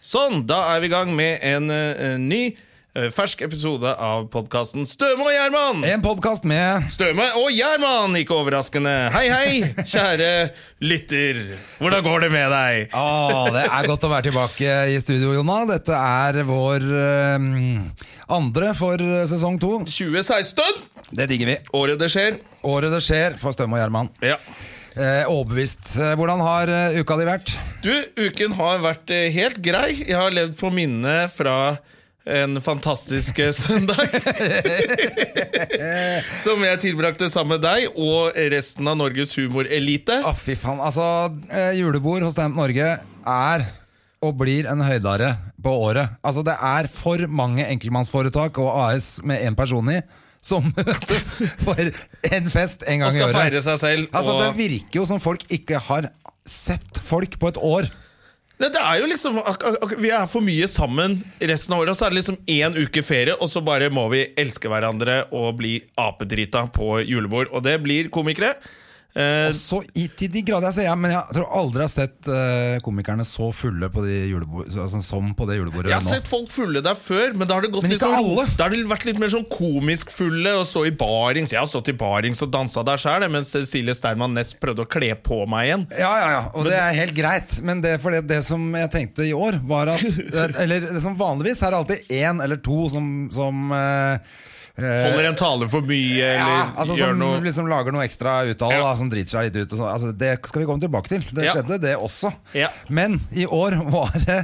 Sånn, da er vi i gang med en eh, ny, eh, fersk episode av podkasten Støme og Gjerman! En podkast med Støme og Gjerman, ikke overraskende. Hei, hei, kjære lytter. Hvordan går det med deg? Å, Ah, det er godt å være tilbake i studio, Jonna. Dette er vår eh, andre for eh, sesong to. 2016, Det digger vi. året det skjer. Året det skjer for Støm og Gjerman. Ja. Eh, overbevist. Eh, Hvordan har eh, uka di vært? Du, uken har vært eh, helt grei. Jeg har levd på minnet fra en fantastisk eh, søndag. Som jeg tilbrakte sammen med deg og resten av Norges humorelite. Å, fy faen. Altså, eh, julebord hos Stemt Norge er og blir en høydare på året. Altså, det er for mange enkeltmannsforetak og AS med én person i som møtes for en fest Og en gang i skal året. feire seg selv. Altså, og... Det virker jo som folk ikke har sett folk på et år. Nei, det er jo liksom ak ak ak- Vi er for mye sammen resten av året, og så er det liksom én uke ferie, og så bare må vi elske hverandre og bli apedrita på julebord. Og det blir komikere. Eh, Så i, til de grader jeg ser, ja, Men jeg tror aldri jeg har sett eh, komikerne så fulle på de julebord, så- altså, som på det julebordet jeg har nå. sett folk fulle der før, men da har det gått Men litt ikke sånn- alle. Da har det vært litt mer sånn komisk fulle og stå i barings. Jeg har stått i barings og dansa der sjøl, mens Cecilie Steinmann Næss prøvde å kle på meg igjen. Ja, ja, ja, og det er helt greit. Men det, for det, det som jeg tenkte i år, var at eh, Eller det som vanligvis er det alltid én eller to som, som eh, eh, Holder en tale for mye, eller ja, altså gjør Som noe liksom lager noe ekstra ut av det, Ja. da, som driter seg litt ut. Og sånn. altså, det skal vi komme tilbake til. Det Ja. skjedde, det også. Ja. Men i år var det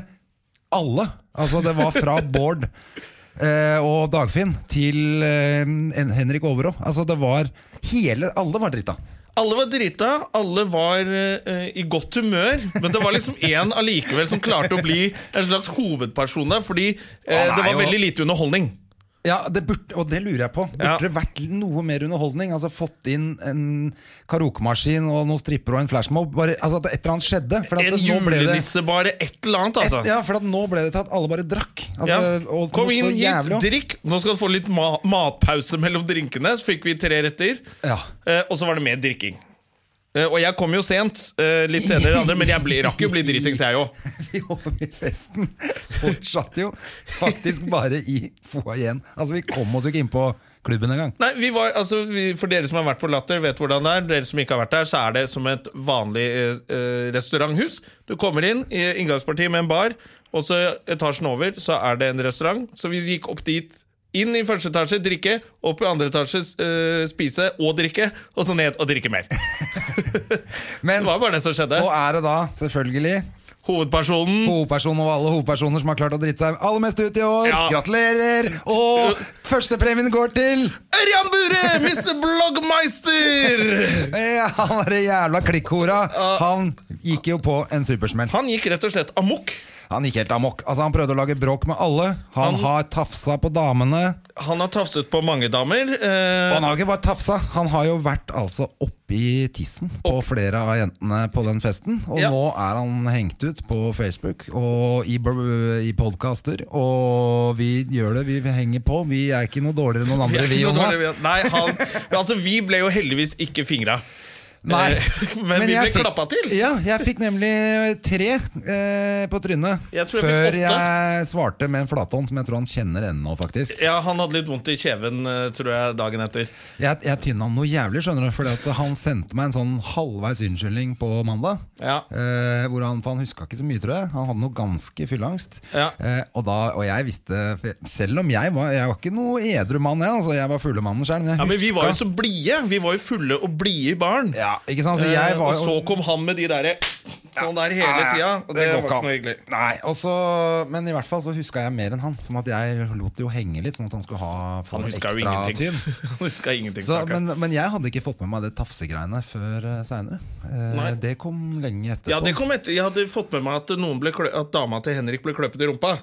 alle. Altså, det var fra Bård eh, og Dagfinn til eh, en- Henrik Overå. Altså, det var hele Alle var drita. Alle var drita, alle var eh, i godt humør, men det var liksom én allikevel som klarte å bli en slags hovedperson der, fordi eh, Han er det var jo- veldig lite underholdning. Ja, det burde, og det lurer jeg på. Burde Ja. det vært noe mer underholdning? Altså Fått inn en karaokemaskin og noen strippere og en flashmob? Bare, altså At et eller annet skjedde. For at En nå ble det julenisse, bare. Et eller annet, altså. et, Ja, for at nå ble det til at alle bare drakk. Altså, Ja. og Kom noe inn så hit, jævlig også. drikk. Nå skal du få litt ma matpause mellom drinkene. Så fikk vi tre retter, Ja. eh, og så var det mer drikking. Eh, og jeg kom jo sent, eh, litt senere enn andre, men jeg ble, rakk jo å bli dritings, jeg òg. Jo, vi festen fortsatte jo faktisk bare i foajeen. Altså, vi kom oss jo ikke inn på klubben engang. Nei, vi var, altså, vi, For dere som har vært på Latter, vet hvordan det er. Dere som ikke har vært der, så er det som et vanlig eh, eh, restauranthus. Du kommer inn i inngangspartiet med en bar, og så etasjen over så er det en restaurant. Så vi gikk opp dit. Inn i første etasje, drikke. Opp i andre etasje, s- eh, spise og drikke. Og så ned og drikke mer. Det Men var bare det som skjedde. så er det da selvfølgelig Hovedpersonen hovedpersonen og alle hovedpersoner som har klart å drite seg aller mest ut i år. Ja. Gratulerer! Og førstepremien går til Ørjan Bure! Mr. Blogmeister! Ja, eh, Han derre jævla klikkhora. Han gikk jo på en supersmell. Han gikk rett og slett amok. Han gikk helt amok. Altså, han prøvde å lage bråk med alle. Han har tafsa på damene. Han har tafset på mange damer. eh, Og han har jo ikke bare tafsa, han har jo vært altså oppi tissen på flere av jentene på den festen. Og Ja. nå er han hengt ut på Facebook og i, br- i podkaster. Og vi gjør det, vi henger på. Vi er ikke noe dårligere enn noen Vi er andre, vi, ikke noe Jonna. dårligere, vi- Nei, han, men altså, vi ble jo heldigvis ikke fingra. Nei. Eh, Men, vi ble jeg fikk- klappa til. Ja, jeg fikk nemlig tre eh, på trynet Jeg tror jeg fikk før åtte. jeg svarte med en flathånd som jeg tror han kjenner ennå, faktisk. Ja, Han hadde litt vondt i kjeven, eh, tror jeg, dagen etter. Jeg, jeg tynna han noe jævlig, skjønner du, fordi at han sendte meg en sånn halvveis unnskyldning på mandag. Ja. Eh, hvor han, for han huska ikke så mye, tror jeg. Han hadde noe ganske fylleangst. Ja. Eh, og, da, og jeg visste for jeg- Selv om jeg var Jeg var ikke noe edru mann, jeg. Altså, jeg var fuglemannen sjøl. Ja, Men vi var jo så blide. Vi var jo fulle og blide barn. ja, ikke sant? Så Eh, jeg var og jo så kom han med de derre sånn der Ja, hele ja, tida. Og det, var går ikke ikke an. noe hyggelig. Nei, og så, Men i hvert fall så huska jeg mer enn han. Sånn at jeg lot det jo henge litt, sånn at han skulle ha få Han huska jo ekstra ingenting. tyn. Han huska ingenting Så, stakkar. men, men jeg hadde ikke fått med meg det tafsegreiene før eh, seinere. Nei. Eh, det kom lenge etterpå. Ja, det kom etter. Jeg hadde fått med meg at, noen ble klø at dama til Henrik ble kløpet i rumpa.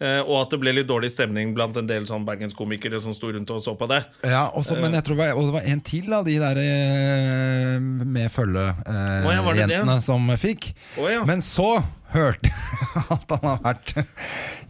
Eh, og at det ble litt dårlig stemning blant en del sånn bergenskomikere som sto rundt og så på det. Ja, og så- men jeg tror det var, og det var en til av de der eh, med Å ja, var det det? følgejentene som fikk. Å ja. Men så hørte at han har vært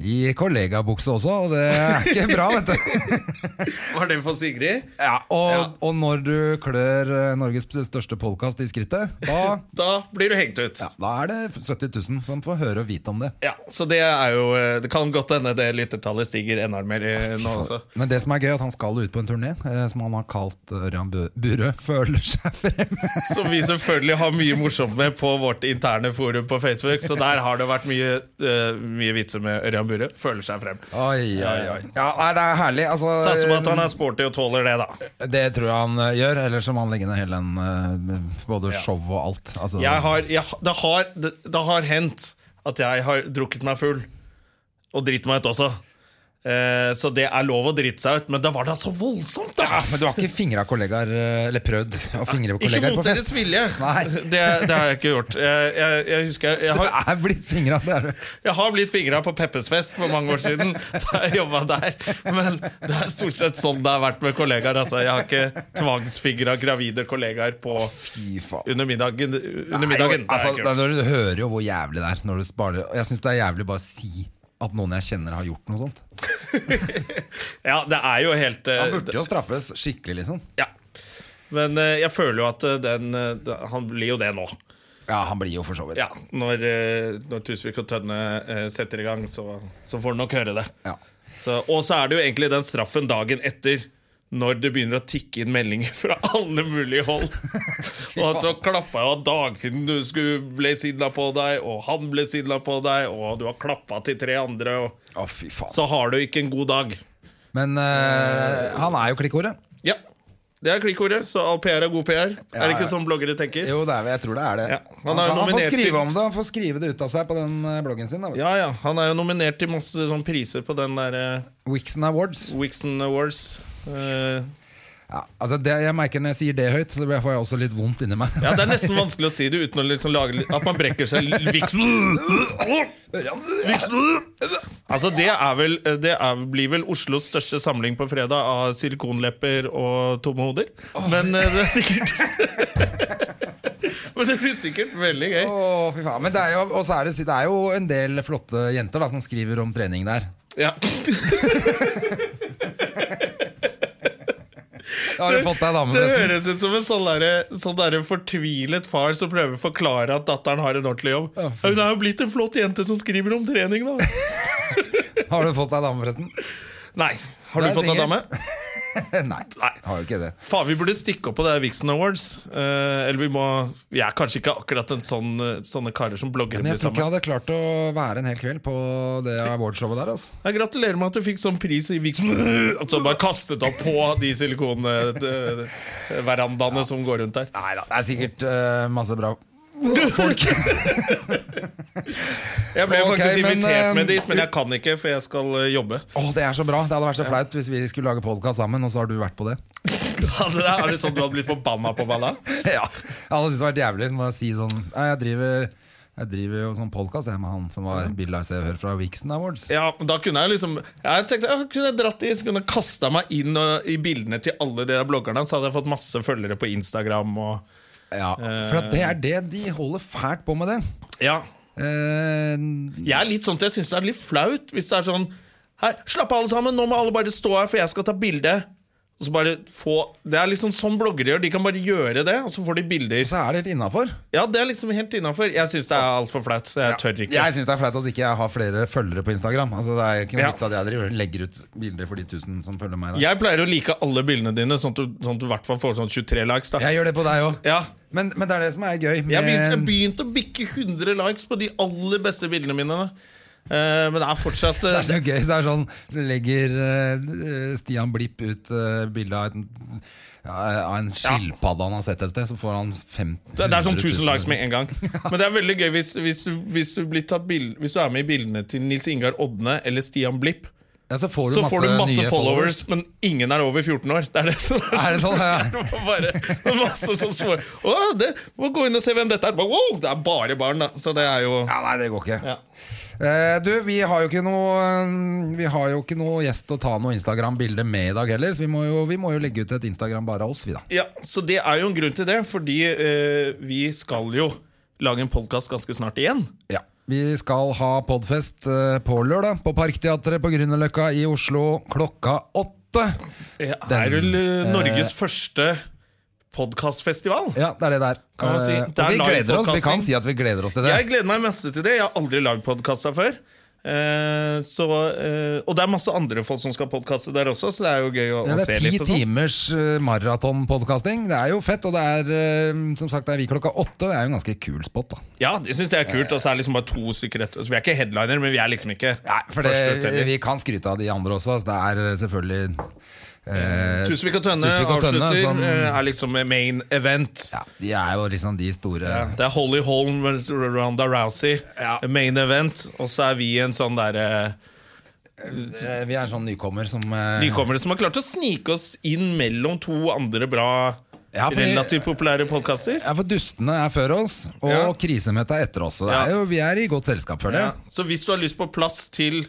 i kollegabukse også, og det er ikke bra, vet du. Var det for Sigrid? Ja, og, Ja. og når du klør eh, Norges største podkast i skrittet, da, Da blir du hengt ut. ja, da er det 70 000 som får høre og vite om det. Ja, så det er jo eh, Det kan godt hende det lyttertallet stiger enda mer eh, nå også. Men det som er gøy, er at han skal ut på en turné, eh, som han har kalt eh, Ørjan Bu- Burøe føler seg fremme. Som vi selvfølgelig har mye morsomt med på vårt interne forum på Facebook. Så der har det vært mye, eh, mye vitser med Ørjan Burre. Føler seg frem. Oi, oi, oi. Ja, nei, det er herlig. Altså, Satser på at han er sporty og tåler det, da. Det tror jeg han eh, gjør, ellers så må han legge ned hele den eh, Både show og alt. Altså, Jeg har, jeg, det, har, det, det har hendt at jeg har drukket meg full. Og driti meg ut også. Eh, så det er lov å drite seg ut, men det var da så voldsomt, da! Men du har ikke fingra kollegaer, eh, eller prøvd å fingre på Ikke kollegaer mot på deres fest? vilje. Nei. Det, det har jeg ikke gjort. Jeg, jeg, jeg husker jeg- jeg Du har, er blitt fingra, det er du. Jeg har blitt fingra på Peppes fest for mange år siden. Da jeg jobbet der Men det er stort sett sånn det har vært med kollegaer. Altså, jeg har ikke tvangsfingra gravide kollegaer på Fy faen. under middagen. Under middagen. Det altså, er da, kult. du hører jo hvor jævlig det er. Når du sparer. Jeg syns det er jævlig bare å si at noen jeg kjenner, har gjort noe sånt. Ja, det er jo helt eh, Han burde jo straffes skikkelig, liksom. ja. Men eh, jeg føler jo at eh, den eh, Han blir jo det nå. Ja, han blir jo for så vidt. Ja, Når, eh, når Tusvik og Tønne eh, setter i gang, så, så får han nok høre det. Ja. Så, og så er det jo egentlig den straffen dagen etter. Når det begynner å tikke inn meldinger fra alle mulige hold. og at du har klappa og Dagfinn du skulle ble sinna på deg, og han ble sinna på deg, og du har klappa til tre andre, og Å, fy faen. så har du ikke en god dag. Men eh, han er jo klikkordet. Ja. Det er klikkordet, så all PR er god PR. Ja, er det ja. ikke sånn bloggere tenker? Jo, det er, jeg tror det er det. Ja, han er jo Han, kan- han får nominert til- skrive om det Han får skrive det ut av seg på den eh, bloggen sin. Da, vet du. Ja ja. Han er jo nominert til masse sånn priser på den derre Wixon Awards. Wixon Awards. Eh, Ja, altså det, jeg merker Når jeg sier det høyt, så får jeg også litt vondt inni meg. ja, det er nesten vanskelig å si det uten å liksom lage litt- at man brekker seg. Wixon Altså det, er vel, det er, blir vel Oslos største samling på fredag av silikonlepper og tomme hoder. Men eh, det er sikkert Men det blir sikkert veldig gøy. Å, fy faen. Men det er jo, og så er det, det er jo en del flotte jenter da, som skriver om trening der. Ja. Har du fått deg dame, Det forresten? høres ut som en sånn, derre- sånn derre fortvilet far som prøver å forklare at datteren har en ordentlig jobb. Ja, Hun er jo blitt en flott jente som skriver om trening, da. Har du fått deg dame, forresten? Nei. Har Det du er fått deg sikkert. dame? Nei. Nei. Har jo ikke det. Faen, vi burde stikke opp på det her Vixen Awards. Eh, eller vi må Vi er kanskje ikke akkurat en sånn, sånne karer som blogger Men blir jeg tror ikke sammen. jeg hadde klart å være en hel kveld på det awardshowet der. Altså. Jeg gratulerer med at du fikk sånn pris i Vixen Og så bare kastet opp på de silikonverandaene som går rundt der. Nei da, det er sikkert eh, masse bra folk. Jeg ble Ok, faktisk men, invitert eh, med dit, men jeg kan ikke, for jeg skal eh, jobbe. Å, det er så bra. Det hadde vært så flaut hvis vi skulle lage podkast sammen, og så har du vært på det. Hadde det- Er det sånn du hadde blitt forbanna på meg da? Ja, Jeg hadde syntes det hadde vært jævlig å si sånn «Nei, Jeg driver, jeg driver jo sånn podkast med han som var Bill Ice Hør fra Vixen Awards. Ja, men da kunne jeg liksom Jeg tenkte, jeg kunne jeg dratt i, så kunne jeg kasta meg inn og, i bildene til alle de der bloggerne, så hadde jeg fått masse følgere på Instagram og Ja, For at det er det de holder fælt på med det. Ja. Eh, Jeg er litt sånn at jeg syns det er litt flaut hvis det er sånn Hei, slapp av, alle sammen. Nå må alle bare stå her, for jeg skal ta bilde. Og så bare få Det er liksom sånn bloggere gjør. De kan bare gjøre det, og så får de bilder. så er det helt innafor. Ja, det er liksom helt innafor. Jeg syns det er altfor flaut. så Jeg tør ikke. Jeg syns det er flaut at ikke jeg har flere følgere på Instagram. Altså Det er ikke noe Ja. vits at jeg driver, og legger ut bilder for de tusen som følger meg. Da. Jeg pleier å like alle bildene dine, sånn at du, sånn at du i hvert fall får sånn 23 likes. da Jeg gjør det på deg òg. Ja Men, men det er det som er gøy. Jeg begynte, jeg med- begynte å bikke 100 likes på de aller beste bildene mine. da. Eh, men det er fortsatt eh, Det er så gøy. Så er det sånn, det legger eh, Stian Blipp ut uh, bilde av en, ja, av en skilpadde han har sett et sted, så får han 50 Det, det er sånn 1000 likes med en gang. Men det er veldig gøy hvis, hvis, du, hvis, du, blir tatt bild, hvis du er med i bildene til Nils Ingar Odne eller Stian Blipp. Ja, så får du Så masse, får du masse nye followers, men ingen er over 14 år. Det er det som er Er det sånn? Det Ja. var bare masse som små Å, det, må gå inn og se hvem dette er. Bare, Wow, det er bare barn, da. Så det er jo ja, nei, det går ikke. ja. Eh, du, vi har jo ikke noe eh, Vi har jo ikke noe gjest å ta noe Instagram-bilde med i dag heller, så vi må jo, vi må jo legge ut et Instagram bare av oss, vi, da. ja, Så det er jo en grunn til det, fordi eh, vi skal jo lage en podkast ganske snart igjen. Ja. Vi skal ha podfest eh, på lørdag på Parkteatret på Grünerløkka i Oslo klokka åtte. Det er Den, vel eh, Norges første podkastfestival. Ja, det er det der. Kan man si. Eh, Det og er vi live gleder oss. Vi podcasting. kan si at vi gleder oss til det. Jeg gleder meg masse til det. Jeg har aldri lagd podkaster før. Eh, så, eh, og det er masse andre folk som skal podkaste der også, så det er jo gøy å, Ja, å det se er ti litt. og sånn. timers eh, maratonpodkasting. Det er jo fett, og det er eh, som sagt det er vi klokka åtte. Det er jo en ganske kul spot, da. Ja, jeg syns det er kult. Og så er det liksom bare to stykker etter. Så vi er ikke headliner, men vi er liksom ikke Nei, for første ut det, heller. Vi kan skryte av de andre også. Altså, det er selvfølgelig eh, Tusvik og Tønne Tusvik og Tønne, avslutter. som- eh, er liksom main event. ja, De er jo liksom de store Det er Holly Holm versus Ronda Rousey, main event. Og så er vi en sånn derre Eh, Vi er en sånn nykommer som eh, nykommere som har klart å snike oss inn mellom to andre bra, Ja, fordi- relativt populære podkaster. Ja, for Dustene er før oss, og Ja. krisemøtet er etter oss. Så det Ja. er jo, vi er i godt selskap, føler Ja. jeg. Så hvis du har lyst på plass til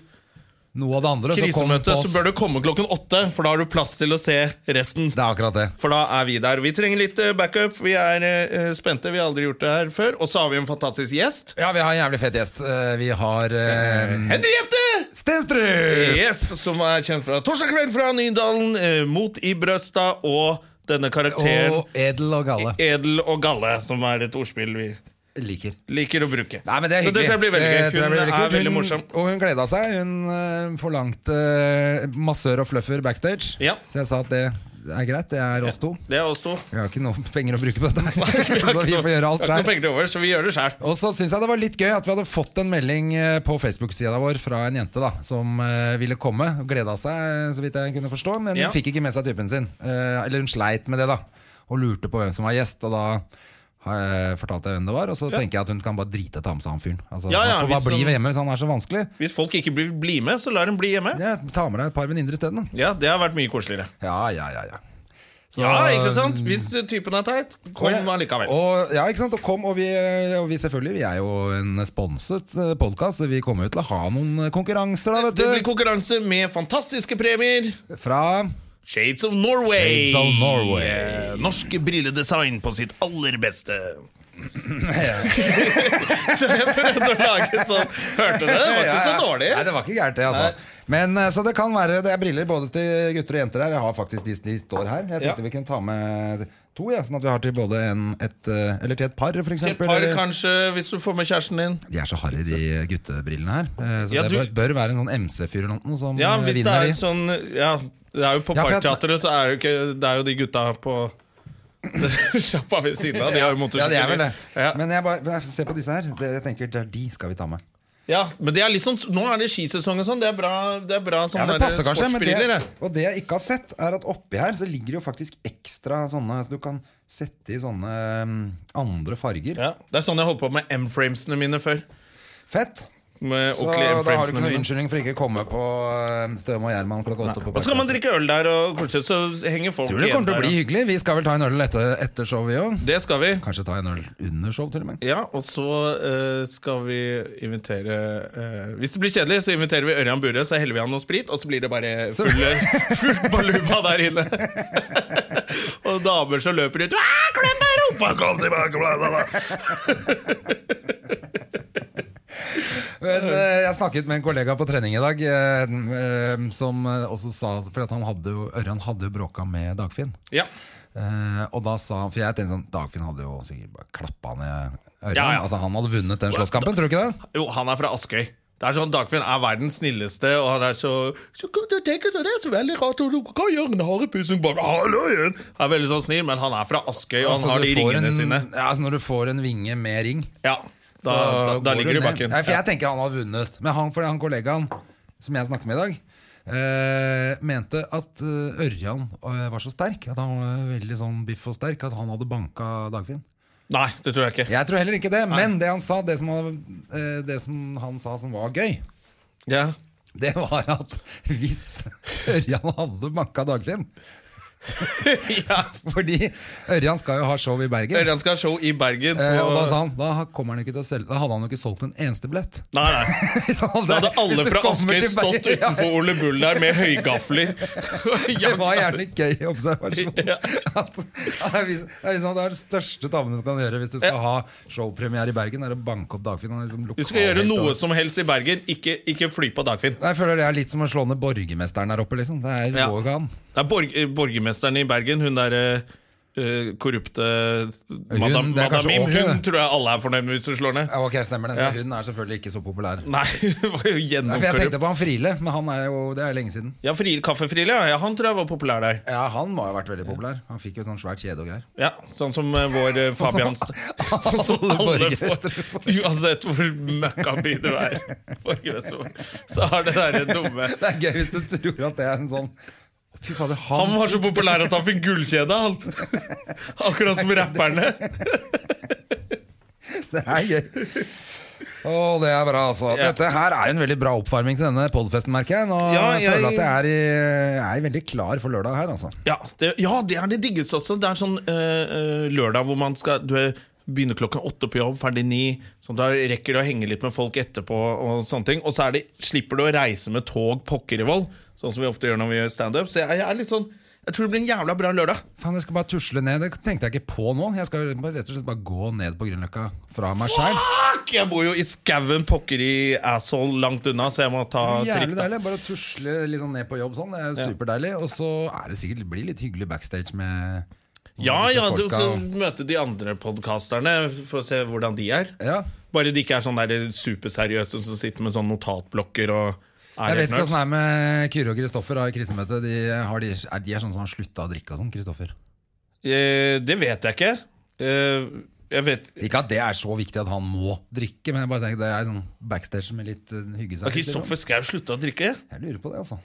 Noe av det andre, så kom krisemøtet, på så oss. bør du komme klokken åtte, for da har du plass til å se resten. Det er akkurat det. For da er vi der. Vi trenger litt eh, backup. Vi er eh, spente. Vi har aldri gjort det her før. Og så har vi en fantastisk gjest. Ja, vi har en jævlig fet gjest. Eh, Vi har eh, Henriette! Stenstrud! Yes, som er kjent fra Torsdag kveld fra Nydalen, eh, Mot i brøsta og denne karakteren Og edel og galle. Edel og galle, som er et ordspill vi Liker. liker å bruke. Nei, men det er så hyggelig. Eh, dette blir veldig gøy. Det tror jeg Hun blir veldig er kult. veldig Hun- morsom. Og hun gleda seg. Hun øh, forlangte øh, massør og fluffer backstage. Ja. Så jeg sa at det er greit, det er oss to. Det er oss to. Vi har ikke noe penger å bruke på dette, Vi har så ikke vi noe- får gjøre alt vi har ikke noe sjøl. penger til over, så vi gjør det sjæl. Og så syns jeg det var litt gøy at vi hadde fått en melding øh, på Facebook-sida vår fra en jente da som øh, ville komme. og Gleda seg, øh, så vidt jeg kunne forstå, men Ja. hun fikk ikke med seg typen sin. Eh, Eller hun sleit med det, da. Og lurte på hvem som var gjest. Og da øh, fortalte jeg hvem det var, og så tenker jeg at hun kan bare drite i å ta med seg han fyren. Altså, Ja, ja, han får hvis bare bli han- hjemme hvis han er så vanskelig. Hvis folk ikke blir, blir med, så lar dem bli hjemme. Ja, ta med deg et par venninner isteden. da. Ja, Det har vært mye koseligere. Ja, ja, ja, ja. mm. Så- Ja, ikke sant? Hvis eh, typen er teit, Og jeg- kom allikevel. Og, ja, ikke sant? Og kom, og vi, eh, og vi selvfølgelig, vi er jo en sponset podkast, så vi kommer jo til å ha noen eh, konkurranser, da, Det blir vet du. konkurranse med fantastiske premier. Fra Shades of Norway. Shades of Norway. Eh, Norsk brilledesign på sitt aller beste. så jeg prøvde å lage sånn Hørte du det? Det var ikke så dårlig. Nei, det var ikke gærent, det, altså. Men, eh, så det kan være Det er briller både til gutter og jenter her. Jeg har faktisk de, de står her. Jeg tenkte Ja. vi kunne ta med to, ja, sånn at vi har til både en, et eh, Eller til et par, for Til et eksempel. par, eller- kanskje, hvis du får med kjæresten din. De er så harry, de guttebrillene her. Eh, Så Ja, det du- bør, bør være en sånn MC-fyr eller noe som Ja, eh, hvis det vinner er de. et sånn Ja, det er jo på Ja, for jeg- Parkteatret, så er det jo ikke Det er jo de gutta på sjappa ved siden av. De har jo Ja, det er vel det. motorsykler. Ja. Men jeg bare, jeg se på disse her. Det, jeg tenker, det er De skal vi ta med. Ja, men det er litt sånn, nå er det skisesong og sånn. Det er bra, det er bra Ja, sånne det der passer kanskje, men sportsbriller. det, det. og det jeg ikke har sett, er at oppi her så ligger det jo faktisk ekstra sånne så Du kan sette i sånne mm, andre farger. Ja, det er sånn jeg holdt på med M-framesene mine før. Fett! Med Så Oakley da har du M-framesene ikke noen mine unnskyldning for ikke å komme på eh, Støme og Gjerman klokka åtte. på Og så kan man Parkteatret. drikke øl der, og kanskje så henger folk Tror du det igjen kommer til å der, bli ja. hyggelig? Vi skal vel ta en øl etter, etter show, vi òg. Det skal vi. Kanskje ta en øl under show, til og med. Ja, og så eh, skal vi invitere eh, Hvis det blir kjedelig, så inviterer vi Ørjan Bure, så heller vi han noe sprit, og så blir det bare Så- full, fullt baluba der inne. og damer som løper ut «Ah, Klem meg i rumpa, kom tilbake! Bla, bla, bla. Men eh, jeg snakket med en kollega på trening i dag, eh, eh, som eh, også sa For at han hadde jo, Ørjan hadde jo bråka med Dagfinn. Ja. Eh, og da sa han For jeg tenkte sånn Dagfinn hadde jo sikkert bare klappa ned Ørjan. Ja, ja. Altså Han hadde vunnet den slåsskampen, tror du ikke det? Jo, han er fra Askøy. Det er sånn, Dagfinn er verdens snilleste, og han er så så kan du tenke deg, Det er så veldig rart, og du kan gjøre en harepussing bare, hallo igjen. Han er veldig sånn snill, men han er fra Askøy, og Altså, han har du de får ringene en, sine. Ja, altså Når du får en vinge med ring, Ja, Da, da, så da går ligger de i du ned. bakken. Nei, for jeg tenker han hadde vunnet. Men han, for han kollegaen som jeg snakket med i dag, eh, mente at eh, Ørjan eh, var så sterk, at han var veldig sånn biff og sterk, at han hadde banka Dagfinn. Nei, det tror jeg ikke. Jeg tror heller ikke det, men det han sa, det som, var, eh, det som han sa som var gøy, Ja. det var at hvis Ørjan hadde banka Dagfinn, ja. Fordi Ørjan skal jo ha show i Bergen. Ørjan skal ha show i Bergen. Eh, og da på- sa han da, ha- kommer han jo ikke til å selge, da hadde han jo ikke solgt en eneste billett. Nei, nei. Hvis han Da hadde hvis alle du fra kommer Askøy til stått Bergen- Ja, utenfor Ole Bull der med høygafler. Det var gjerne gøy observasjon. Ja. At, at det er vis- det er liksom det er det største tabben du kan gjøre hvis du skal ha showpremiere i Bergen. Er å banke opp Dagfinn. Han er Liksom Du skal gjøre noe som helst i Bergen, ikke, ikke fly på Dagfinn. Jeg føler det er litt som å slå ned borgermesteren der oppe. liksom Det Ja. er går jo ikke an. Det er borg, eh, borgermesteren i Bergen, hun der eh, korrupte Madame det er kanskje Madame Mim, ok, hun det. tror jeg alle er fornøyd med hvis du slår ned. Ja, Ok, stemmer det. Ja. Hun er selvfølgelig ikke så populær. Nei, hun var jo Nei, for Jeg tenkte gjennomkorrupt. på han Friele, men han er jo, det er lenge siden. Ja, Fri- Kaffefrile, ja, ja, han tror jeg var populær der. Ja, Han må ha vært veldig populær. Han fikk jo sånn svært kjede og greier. Ja, Sånn som eh, vår eh, Fabian Sånn som alle alle borgermestere får. Uansett hvor møkkaby du er, borgermester, så har det derre dumme Det er gøy hvis du tror at det er en sånn Fy fader, Han han, var så populær at han fikk gullkjede, han. Akkurat som rapperne. det er gøy! Å, det er bra, altså. Ja. Dette her er en veldig bra oppvarming til denne podfesten, merker jeg. Nå Ja, jeg føler jeg- jeg at jeg er, i, jeg er veldig klar for lørdag her, altså. Ja, det, ja, det er det diggeste også. Det er sånn eh, eh, lørdag hvor man skal du er- begynner klokken åtte på jobb, ferdig ni. Sånn at du rekker å henge litt med folk etterpå. Og sånne ting Og så er det, slipper du å reise med tog pokker i vold, sånn som vi ofte gjør når vi gjør standup. Så jeg, jeg er litt sånn Jeg tror det blir en jævla bra lørdag. Faen, jeg skal bare tusle ned. Det tenkte jeg ikke på nå. Jeg skal bare- rett og slett bare gå ned på Grünerløkka fra meg sjæl. Fuck! Jeg bor jo i skauen pokker i asshole langt unna, så jeg må ta trikk. Jævlig da. deilig. Bare å tusle litt sånn ned på jobb sånn. Det er jo superdeilig. Og så er det sikkert det blir litt hyggelig backstage med Ja, disse ja, du, folka. så møte de andre podkasterne for å se hvordan de er. ja. Bare de ikke er sånn der superseriøse som sitter med sånn notatblokker og er Jeg vet helt ikke åssen det nerds. er med Kyrre og Kristoffer da, i krisemøtet. De, har de, er de er sånne som har slutta å drikke og sånn, Kristoffer? Eh, det vet jeg ikke. Eh, jeg vet Ikke at det er så viktig at han må drikke, men jeg bare tenker det er sånn backstage med litt uh, Har hyggesaker. Kristoffer Schou slutta å drikke? Jeg lurer på det, altså.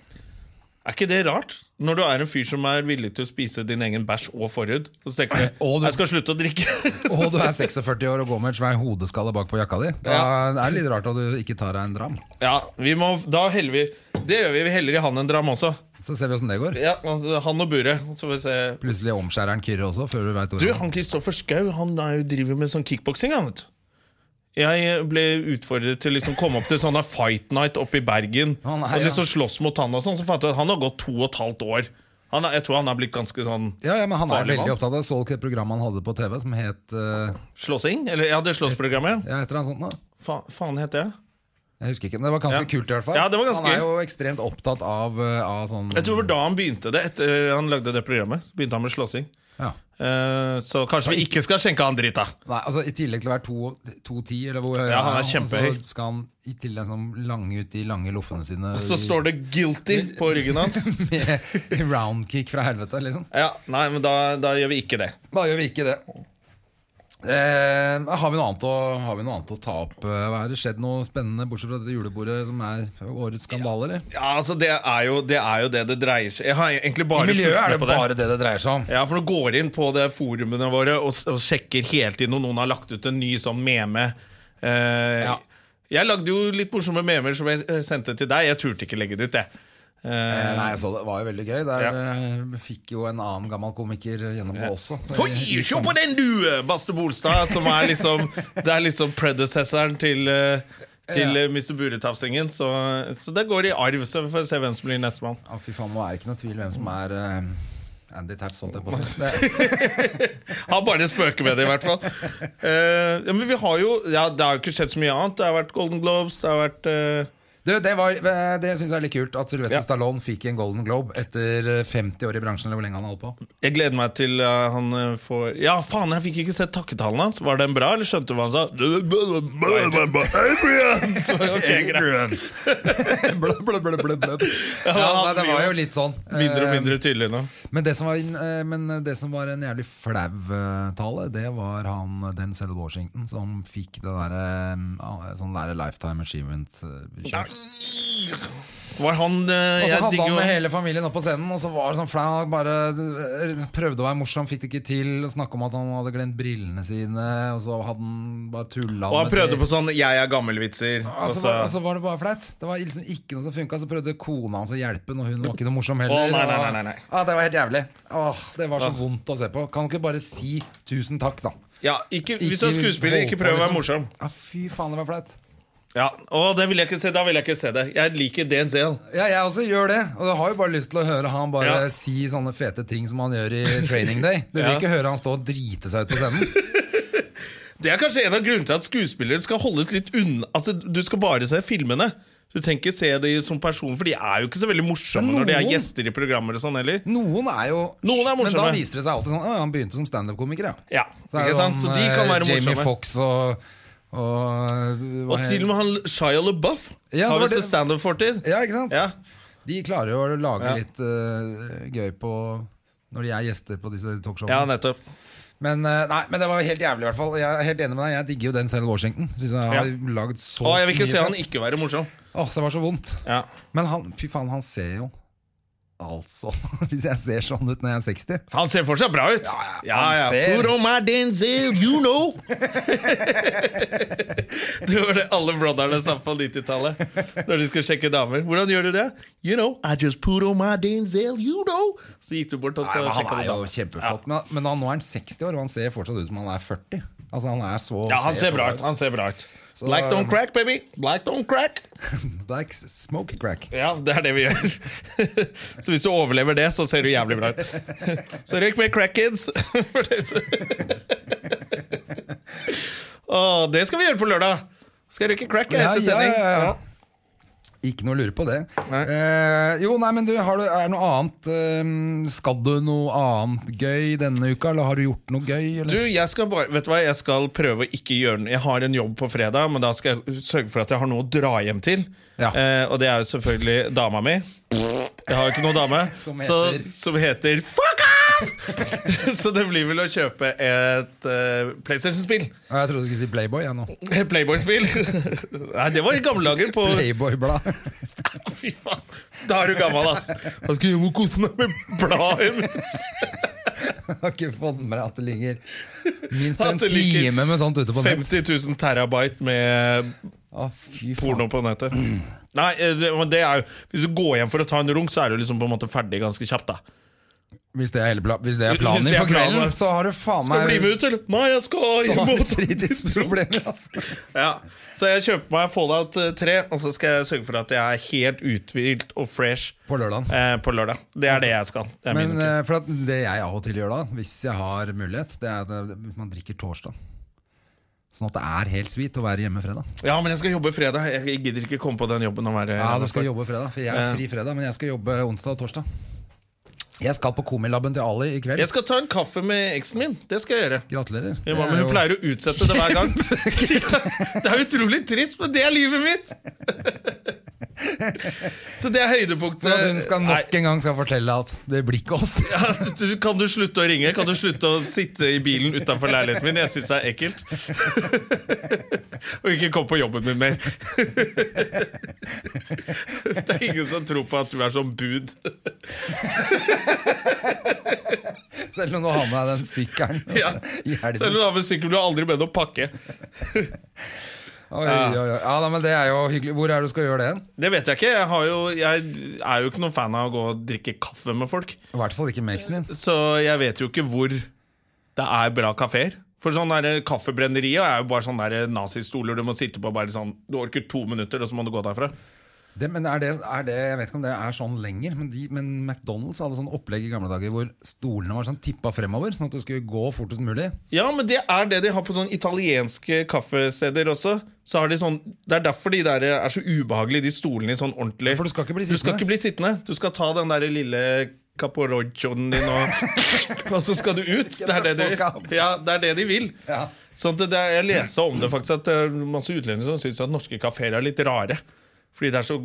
Er ikke det rart? Når du er en fyr som er villig til å spise din egen bæsj og forhud, og så tenker du Og du- jeg skal slutte å drikke. Og du er 46 år og går med et svær hodeskalle bak på jakka di. Da er det litt rart at du ikke tar deg en dram. ja, vi må, da heller vi Det gjør vi. Vi heller i han en dram også. Så ser vi åssen det går. Ja, altså, han og buret. Så får vi se. Plutselig omskjærer han Kyrre også, før du veit Du, ordet. han Kristoffer Schau han er jo driver med sånn kickboksing. han, vet du. Jeg ble utfordret til å liksom komme opp til sånne Fight Night oppe i Bergen. Å, nei, og liksom slåss mot han og sånn, så fant jeg at han har gått to og et halvt år. Han er, jeg tror han har blitt ganske sånn Ja, ja, men han er Farlig veldig mann. opptatt av Så dere det programmet han hadde på TV som het uh, slåssing. Eller ja, det slåssprogrammet. Ja, et eller annet sånt noe. Fa, faen heter det? Jeg husker ikke, men det var ganske Ja. kult i hvert fall. Ja, det var ganske han er gøy. jo ekstremt opptatt av, eh, av sånn Jeg tror det var da han begynte det. Etter han lagde det programmet. Så begynte han med slåssing. ja. Eh, så kanskje vi ikke skal skjenke han dritt, da. Nei, altså I tillegg til å være to- 2,10 eller hvor høy Ja, han er kjempehøy. Så skal han i tillegg sånn lange ut de lange loffene sine Så står det 'guilty' på ryggen hans. med roundkick fra helvete, liksom. Ja, Nei, men da, da gjør vi ikke det. Da gjør vi ikke det. Eh, har, vi noe annet å, har vi noe annet å ta opp? Eh, Hva er det skjedd noe spennende bortsett fra dette julebordet som er årets skandale, eller? Ja, altså Det er jo det er jo det, det dreier seg Jeg har egentlig I bare miljøet fulgt er med det på bare det det dreier seg om. Ja, for du går inn på det forumene våre og, s- og sjekker hele tiden om noen har lagt ut en ny sånn meme. Eh, Ja. Jeg lagde jo litt morsomme memer som jeg eh, sendte til deg. Jeg turte ikke legge det ut, jeg. Eh, Eh, Nei, jeg så det. det var jo veldig gøy. Der Ja. eh, fikk jo en annen gammel komiker eh, gjennom det også. Hoi, liksom. se på den du, Baste Bolstad! Som er liksom Det er liksom predecessoren til eh, til eh, Mr. Buretafsingen. Så, så det går i arv. Så vi får se hvem som blir nestemann. Ja, fy faen, nå er det ikke noe tvil hvem som er eh, Andy Taps, holdt jeg på å si. Det- Han bare spøker med det, i hvert fall. Eh, ja, men vi har jo ja, Det har jo ikke skjedd så mye annet. Det har vært Golden Globes, det har vært eh, Du, det, var- eh, det syns jeg er litt kult at Sylvester Ja. Stallone fikk en Golden Globe etter 50 år i bransjen, eller hvor lenge han holdt på. Jeg gleder meg til eh, han eh, får Ja, faen, jeg fikk ikke sett takketalen hans. Var den bra, eller skjønte du hva han sa? Adrian! Så, ok, greit. blub, blub, blub, blub, blub. Ja, nei, det var jo litt sånn. Mindre og mindre tydelig nå. Eh, Men det som var, en- eh, men det som var en jævlig flau eh, tale, det var han eh, Denzel Washington som fikk det derre eh, ah, sånn derre Lifetime Achievement eh, kjørt. Var han eh, Og så jeg hadde digger han jo- med hele familien opp på scenen, og så var det sånn flau. han Bare eh, prøvde å være morsom, fikk det ikke til. og Snakka om at han hadde glemt brillene sine, og så hadde han bare tulla Og han med prøvde det. på sånn 'jeg er gammel'-vitser. Og så Altså, var, og så var det bare flaut. Det var liksom ikke noe som funka. Så prøvde kona hans å hjelpe, og hun var ikke noe morsom heller. Å, nei, nei, og- nei, nei, nei. Ah, det var helt jævlig. Åh, det var så vondt å se på. Kan du ikke bare si tusen takk, da? ja, ikke, hvis du Ikke er skuespiller, holde ikke på, prøv å være liksom. morsom. Ja, fy faen, det var flaut. Ja, og det vil jeg ikke se, Da vil jeg ikke se det. Jeg liker DNC. -en. Ja, jeg også gjør det. Og jeg har jo bare lyst til å høre han bare Ja. si sånne fete ting som han gjør i Training Day. Du Ja. vil ikke høre han stå og drite seg ut på scenen. Det er kanskje en av grunnene til at skuespillere skal holdes litt unna. Altså, Du skal bare se filmene. Du trenger ikke se dem som person, for de er jo ikke så veldig morsomme Men når de er noen- gjester i programmer og sånn heller. Noen er jo Noen er Men da morsomme. viser det seg alltid sånn «Å, Han begynte som standup-komiker, ja. Ja, Så er ikke det sant? Så sånn, de kan eh, være Jamie morsomme. Foxx og, og hva Og til og med han Shia LaBeouf Ja, det har var visst det- standup-fortid. Ja, ikke sant? Ja. De klarer jo å lage Ja. litt eh, gøy på når de er gjester på disse ja, talkshowene. nettopp. men, eh, nei, men det var helt jævlig, i hvert fall. Jeg er helt enig med deg. Jeg digger jo den selv Washington. Synes jeg har laget så Å, jeg vil ikke mye se fett. han ikke være morsom. Åh, det var så vondt. Ja. Men han, fy faen, han ser jo Altså, hvis jeg ser sånn ut når jeg er 60 Han ser fortsatt bra ut. Ja, ja, ja, han ja. ser- Put on my Denzel, you know! det var det alle brotherne sa på 90-tallet når de skulle sjekke damer. Hvordan gjør du det? You know, I just put on my Denzel, you know! Så gikk du bort og så Nei, men sjekka han er du jo damer. kjempeflott. Men, men han, nå er han 60 år, og han ser fortsatt ut som han er 40. Altså Han er så Ja, han ser så bra ut. Han ser bra ut. Så- um, Black don't crack, baby. Black don't crack. Black smoke crack. Ja, det er det vi gjør. så hvis du overlever det, så ser du jævlig bra ut. så røyk mer crack kids. For det så- Å, det skal vi gjøre på lørdag. Skal jeg røyke crack jeg, Ja, etter ja, sending? ja, ja. Ikke noe å lure på det. Nei. Eh, jo, nei, men du, har du, er det noe annet eh, Skal du noe annet gøy denne uka, eller har du gjort noe gøy? Eller? Du, jeg skal bare, vet du hva, jeg skal prøve å ikke gjøre noe Jeg har en jobb på fredag, men da skal jeg sørge for at jeg har noe å dra hjem til. Ja. Eh, og det er jo selvfølgelig dama mi. Jeg har jo ikke noen dame Som så, heter- som heter Fuck off! så det blir vel å kjøpe et eh, PlayStation-spill. Ah, Jeg trodde du skulle si Playboy. Jeg, nå. Playboy-spill. Nei, det var i gamle dager på Playboy-blad. Fy faen, da er du gammel, ass. Han skal hjem og kose meg med bladet mitt. Jeg har ikke fått med meg at det ligger minst At en det ligger time med sånt ute på nett. 50 000 terabyte med Å, fy faen. porno på nettet. Nei, eh, det, men det er jo Hvis du går hjem for å ta en runk, så er du liksom på en måte ferdig ganske kjapt, da. Hvis det er, hele pla hvis det er Hvis planen det er for planen, kvelden, da. så har du Skal faen meg du bli med ut, eller? Nei, jeg skal Da hjem har og du fritidsproblemer, altså. Ja, Så jeg kjøper meg Fallout eh, 3, og så skal jeg sørge for at jeg er helt uthvilt og fresh På lørdagen. eh, på lørdag. Det er det jeg skal. Det er Men min uke. eh, for at det jeg av og til gjør da, hvis jeg har mulighet, det er at eh, man drikker torsdag. Sånn at det er helt sweet å være hjemme fredag. Ja, men jeg skal jobbe fredag. Jeg gidder ikke komme på den jobben. Og være Ja, du skal jobbe fredag, for jeg Ja. er fri fredag, men jeg skal jobbe onsdag og torsdag. Jeg skal på Komilaben til Ali i kveld. Jeg skal ta en kaffe med eksen min. Det skal jeg gjøre. Gratulerer. Ja, men hun pleier å utsette det hver gang. det er utrolig trist, men det er livet mitt! Så det er høydepunktet. For at hun skal Nei. nok en gang skal fortelle at det blir ikke oss. Ja, du, kan du slutte å ringe? Kan du slutte å sitte i bilen utenfor leiligheten min? Jeg syns det er ekkelt. Og ikke kom på jobben min mer. Det er ingen som tror på at du er sånn bud. Selv om du har med deg den sykkelen. Ja. I helgen. Selv om du har en sykkel du har aldri bedt om pakke. Oi, Ja. oi, oi. Ja, da, men det er jo hyggelig. Hvor er det du skal gjøre det hen? Det vet jeg ikke. Jeg, har jo, jeg er jo ikke noen fan av å gå og drikke kaffe med folk. I hvert fall ikke med eksen din. Så jeg vet jo ikke hvor det er bra kafeer. For sånn der Kaffebrenneriet er jo bare sånne der eh, nazistoler du må sitte på bare sånn Du orker to minutter, og så må du gå derfra. Det, men er det, er det, Jeg vet ikke om det er sånn lenger, men, de, men McDonald's hadde sånn opplegg i gamle dager hvor stolene var sånn tippa fremover, sånn at du skulle gå fortest mulig. Ja, men det er det de har på sånne italienske kaffesteder også. Så har de sånn, Det er derfor de der eh, er så ubehagelige, de stolene i sånn ordentlig For du skal ikke bli Du skal sittende. ikke bli sittende. Du skal ta den der lille caporoccioen din, og, og så skal du ut. Det er det de, ja, det er det de vil. Ja. Sånn at det, det- jeg leste om det faktisk at det er masse utlendinger som syns at norske kafeer er litt rare. Fordi det er så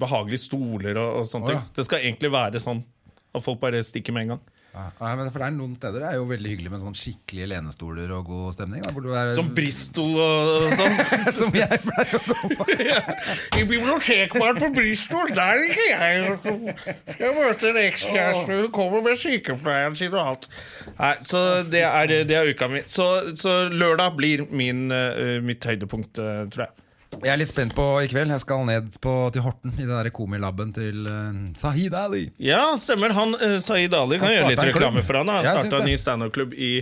behagelige stoler og, og sånne Å, ja. ting. Det skal egentlig være sånn at folk bare stikker med en gang. Ja, ja, men for det er Noen steder det er jo veldig hyggelig med sånn skikkelige lenestoler og god stemning. Da, hvor du er, Som Bristol og, og sånn. som jeg pleier å gå på. I bibliotekbaren på Bristol, der er ikke jeg. Jeg møter en ekskjæreste, hun kommer med sykepleieren sin og alt. Nei, så det er, det er uka mi. Så, så lørdag blir min, eh, mitt høydepunkt, eh, tror jeg. Jeg er litt spent på i kveld. Jeg skal ned på, til Horten, i den der komilaben til eh, Sahid Ali. Ja, stemmer. Han, eh, Saeed Ali kan Han gjøre litt startet en reklame klubb. for han. da. Jeg Han syns starta en det. ny standup-klubb i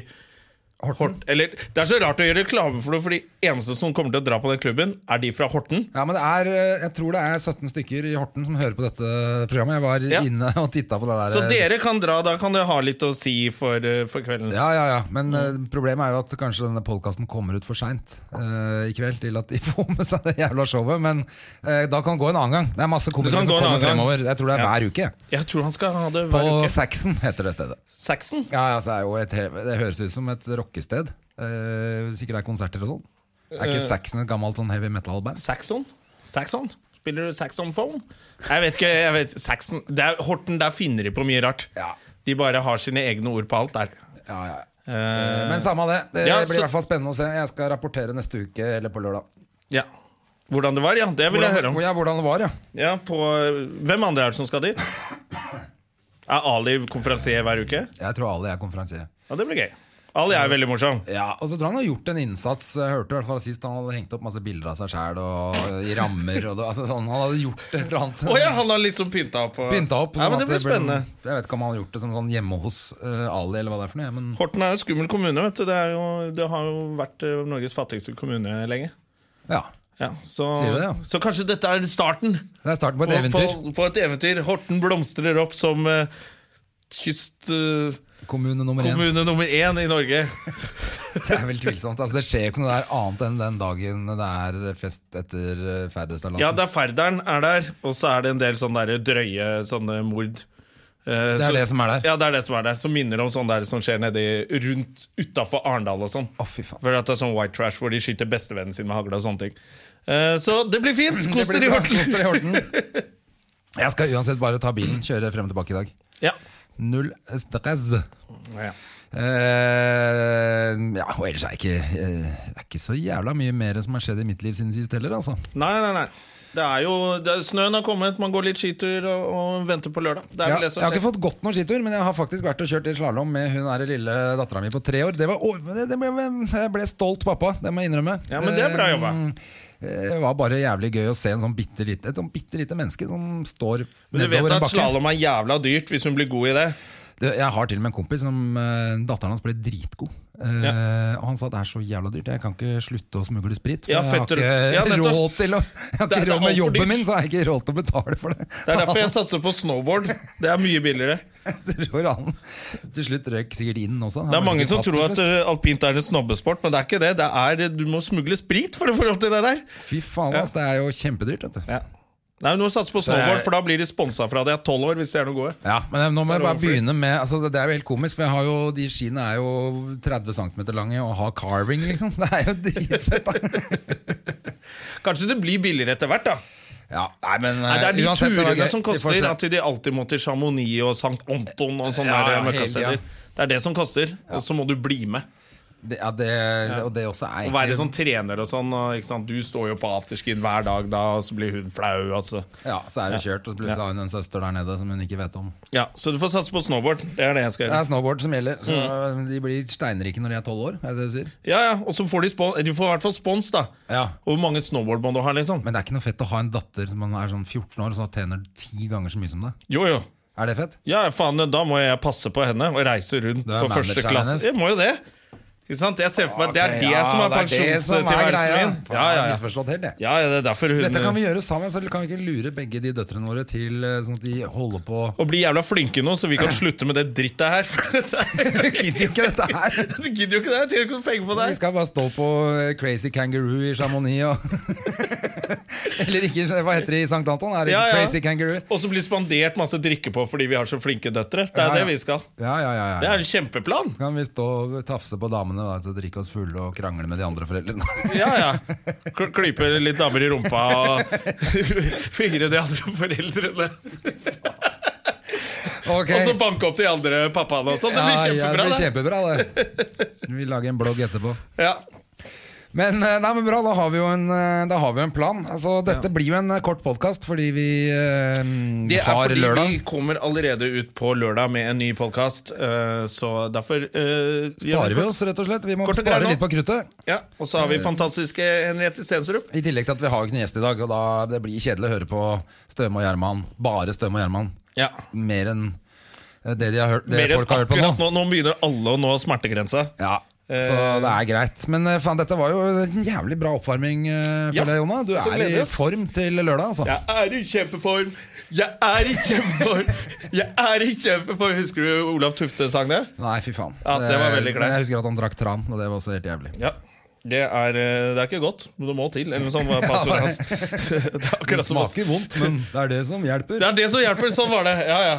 Horten. Eller, det er så rart å gjøre reklame for noe, for de eneste som kommer til å dra på den klubben, er de fra Horten. Ja, men det er, eh, Jeg tror det er 17 stykker i Horten som hører på dette programmet. Jeg var Ja. inne og titta på det der. eh, Så dere kan dra, da kan dere ha litt å si for, eh, for kvelden. Ja, ja, ja. Men eh, problemet er jo at kanskje denne podkasten kommer ut for seint i kveld til at de får med seg det jævla showet. Men eh, da kan det gå en annen gang. Det er masse komikere kan som gå en kommer annen gang. fremover. Jeg tror det er Ja. hver uke. Jeg tror han skal ha det På hver uke. Saxon heter det stedet. Saxon? Ja, ja, så er jo et, he- det høres ut som et rockested. Eh, sikkert det er konserter og sånn. Er ikke Eh. Saxon et gammelt sånn heavy metal-band? Saxon? Saxon? Spiller du saxophone? Jeg vet ikke. jeg vet, Saxon det er, Horten, der finner de på mye rart. Ja. De bare har sine egne ord på alt der. Ja, ja. Eh, Men samme av det. Det Ja, blir så- i hvert fall spennende å se. Jeg skal rapportere neste uke eller på lørdag. ja. Hvordan det var, ja. Det vil jeg høre Hvordan, om. ja, hvordan det var, ja. Ja, på, eh, hvem andre er det som skal dit? Er Ali konferansier hver uke? Jeg tror alle er konferansier. Ja, det blir gøy. Ali er veldig morsom. Ja, og så tror jeg han har gjort en innsats. Jeg hørte i hvert fall sist han hadde hengt opp masse bilder av seg sjæl i rammer. Og det, altså, sånn, han hadde gjort et eller annet. Å ja, han har liksom pynta opp. og- Pynta opp. Ja, sånn men at det blir ble sånn- spennende. Jeg vet ikke om han har gjort det som sånn hjemme hos eh, Ali, eller hva det er for noe. Men Horten er en skummel kommune. vet du Det, er jo, det har jo vært eh, Norges fattigste kommune lenge. ja, Ja, så, Sier du det, ja? så kanskje dette er starten det er starten på et på, eventyr. på, på et eventyr. Horten blomstrer opp som eh, kyst... eh, Kommune nummer én. Kommune nummer én i Norge. Det er vel tvilsomt. Altså, det skjer jo ikke noe der annet enn den dagen det er fest etter eh, ferdigstallasen. Ja, der Færderen er der, og så er det en del sånne der drøye sånne mord. Eh, det så- er det som er der. Ja, det er det som er der. Som minner om sånn der som skjer nedi rundt utafor Arendal og sånn. Å, fy faen. For at det er sånn white trash hvor de skyter bestevennen sin med hagle og sånne ting. Eh, så det blir fint! Kos dere i Horten. Koster i Horten. Jeg skal uansett bare ta bilen, kjøre frem og tilbake i dag. Ja. Null stress. Ja. Eh, ja, og ellers er jeg ikke, eh, det er ikke så jævla mye mer som har skjedd i mitt liv siden sist heller, altså. Nei, nei, nei. Det er jo, det, er- snøen har kommet, man går litt skitur og, og venter på lørdag. Det er Ja, vel det jeg som har skjer. ikke fått gått noen skitur, men jeg har faktisk vært og kjørt litt slalåm med hun her lille dattera mi på tre år. Det var, å, men det, det ble, jeg ble stolt pappa, det må jeg innrømme. Ja, men det er bra jobba. Eh, Det var bare jævlig gøy å se en sånn bitte lite, et sånn bitte lite menneske som står Men du vet nedover en at bakke. slalåm er jævla dyrt hvis hun blir god i det. Du, Jeg har til og med en kompis som eh, datteren hans ble dritgod. Eh, Og han sa det er så jævla dyrt, jeg kan ikke slutte å smugle sprit. For Ja, jeg har fetter- ikke ja, nettopp. råd til å Jeg har Det- ikke det er råd med alt for dyrt. jobben min, så har jeg ikke råd til å betale for det. Det er derfor jeg satser på snowboard. Det er mye billigere. jeg tror han til slutt røyk sikkert inn også. Han Det er ble mange sikkert som tatt til tror at slutt. eh, alpint er en snobbesport, men det er ikke det. det er, du må smugle sprit for å få lov til det der. Fy faen, ass, det er jo kjempedyrt, vet du. Nei, Du må satse på snowboard, for da blir de sponsa fra deg i tolv år. hvis de er noe gode Ja, men nå må er jeg det bare overfor. begynne med altså, Det det er jo helt komisk, for jeg har jo, de skiene er jo 30 cm lange og har carving, liksom. Det er jo dritfett. da. Kanskje det blir billigere etter hvert, da. Ja, nei, men eh, Nei, det er de uansett, det var turene gøy. som Vi får koster. se. At de alltid må til Chamonix og St. Anton og sånne der Ja, eh, ja, hele møkkasteder. tida. Det er det som koster. Og så må du bli med. Det, ja, det, Og det også er Og egentlig være sånn trener og sånn. Og, ikke sant? Du står jo på afterskien hver dag da, og så blir hun flau. Altså. Ja, så er det kjørt, og så plutselig har hun en søster der nede som hun ikke vet om. Ja, så du får satse på snowboard. Det er det jeg skal Det gjøre. er snowboard som gjelder, så Mm. de blir steinrike når de er tolv år. Er det det du sier? Ja, ja, Og så får de, spon de får i hvert fall spons, da. Ja. Og Hvor mange snowboard må du ha, liksom? Men det er ikke noe fett å ha en datter som er sånn 14 år som tjener ti ganger så mye som deg. Jo, jo. Er det fett? Ja, faen, da må jeg passe på henne og reise rundt Du er på første manageren klasse. hennes. Jeg må jo det. Ikke sant? Jeg ser for meg at Det er Ok, det ja, som er det er det som er pensjonstilværelsen greia. min. Ja, Mm. Faen, jeg ja, har ja. misforstått helt, jeg. ja, ja, det er derfor hun Dette kan vi gjøre sammen, så kan vi ikke lure begge de døtrene våre til eh, sånn at de holder på Og bli jævla flinke nå, så vi kan slutte med det drittet her. For dette er- Gidder ikke dette her! Du gidder jo ikke det. Jeg tjener ikke noen penger på det Vi her. skal bare stå på eh, Crazy Kangaroo i Chamonix og Eller ikke, hva heter det i St. Anton? Er det Ja, ja. Crazy Kangaroo? Og så bli spandert masse drikke på fordi vi har så flinke døtre. Det Ja, er ja. det vi skal. Ja, ja, ja, ja. Det er en kjempeplan. kan vi stå og tafse på damene da, til å drikke oss fulle og krangle med de andre foreldrene. Ja, ja. Kl- Klype litt damer i rumpa og fingre de andre foreldrene. Ok. Og så banke opp de andre pappaene og sånn. Det blir ja, det kjempebra. blir det. kjempebra, det. Vi lager en blogg etterpå. Ja. Men, eh, nei, men bra, da har vi jo en, eh, da har vi jo en plan. Altså, dette blir jo en eh, kort podkast fordi vi eh, Det er har fordi lørdag. vi kommer allerede ut på lørdag med en ny podkast, så derfor eh, gjør Sparer vi oss, rett og slett. Vi må Kort og greit spare nå. litt på kruttet. Ja, Og så har vi fantastiske Henriette Stensrup. I tillegg til at vi har jo ikke noen gjest i dag, og da det blir kjedelig å høre på Støme og Gjerman. Bare Støme og Gjerman. Ja. Mer enn eh, det, de har hørt, det Mer enn folk har hørt på nå. akkurat nå. Nå begynner alle å nå smertegrensa. Ja, så det er greit. Men eh, faen, dette var jo en jævlig bra oppvarming eh, for Ja, deg, Jonna. Du så er gleder vi i oss. form til lørdag, altså. Jeg er i kjempeform! Jeg er i kjempeform! Jeg er i kjempeform! Husker du Olav Tufte sang det? Nei, fy faen. Ja, det var veldig Eh, greit. Jeg husker at han drakk tran, og det var også helt jævlig. Ja. Det er, eh, det er ikke godt, men det må til. Eller noe sånt var passordet hans. Det er akkurat som oss. vondt, men det er det som hjelper. Det er det som hjelper. Sånn var det. Ja, ja.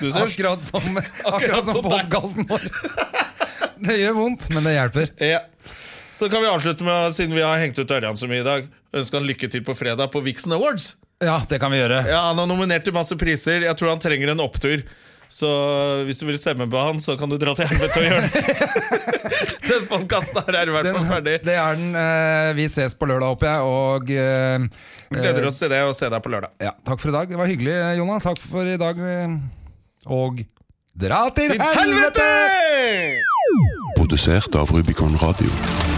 Du ser. Akkurat som, akkurat som som deg. podkasten vår. Det gjør vondt, men det hjelper. Ja. Så kan vi avslutte med, å- siden vi har hengt ut Ørjan så mye i dag, ønske han lykke til på fredag på Vixen Awards. Ja, det kan vi gjøre. Ja, Han har nominert til masse priser. Jeg tror han trenger en opptur. Så hvis du vil stemme på han, så kan du dra til helvete og gjøre det. Den podkasten her er i hvert Den, fall ferdig. det er den. eh, Vi ses på lørdag, håper jeg. Og eh, Gleder oss til det, og se deg på lørdag. Ja, takk for i dag. Det var hyggelig, Jonna. Takk for i dag. eh, Og dra til helvete! Helvete! Produsert av Rubicon Radio.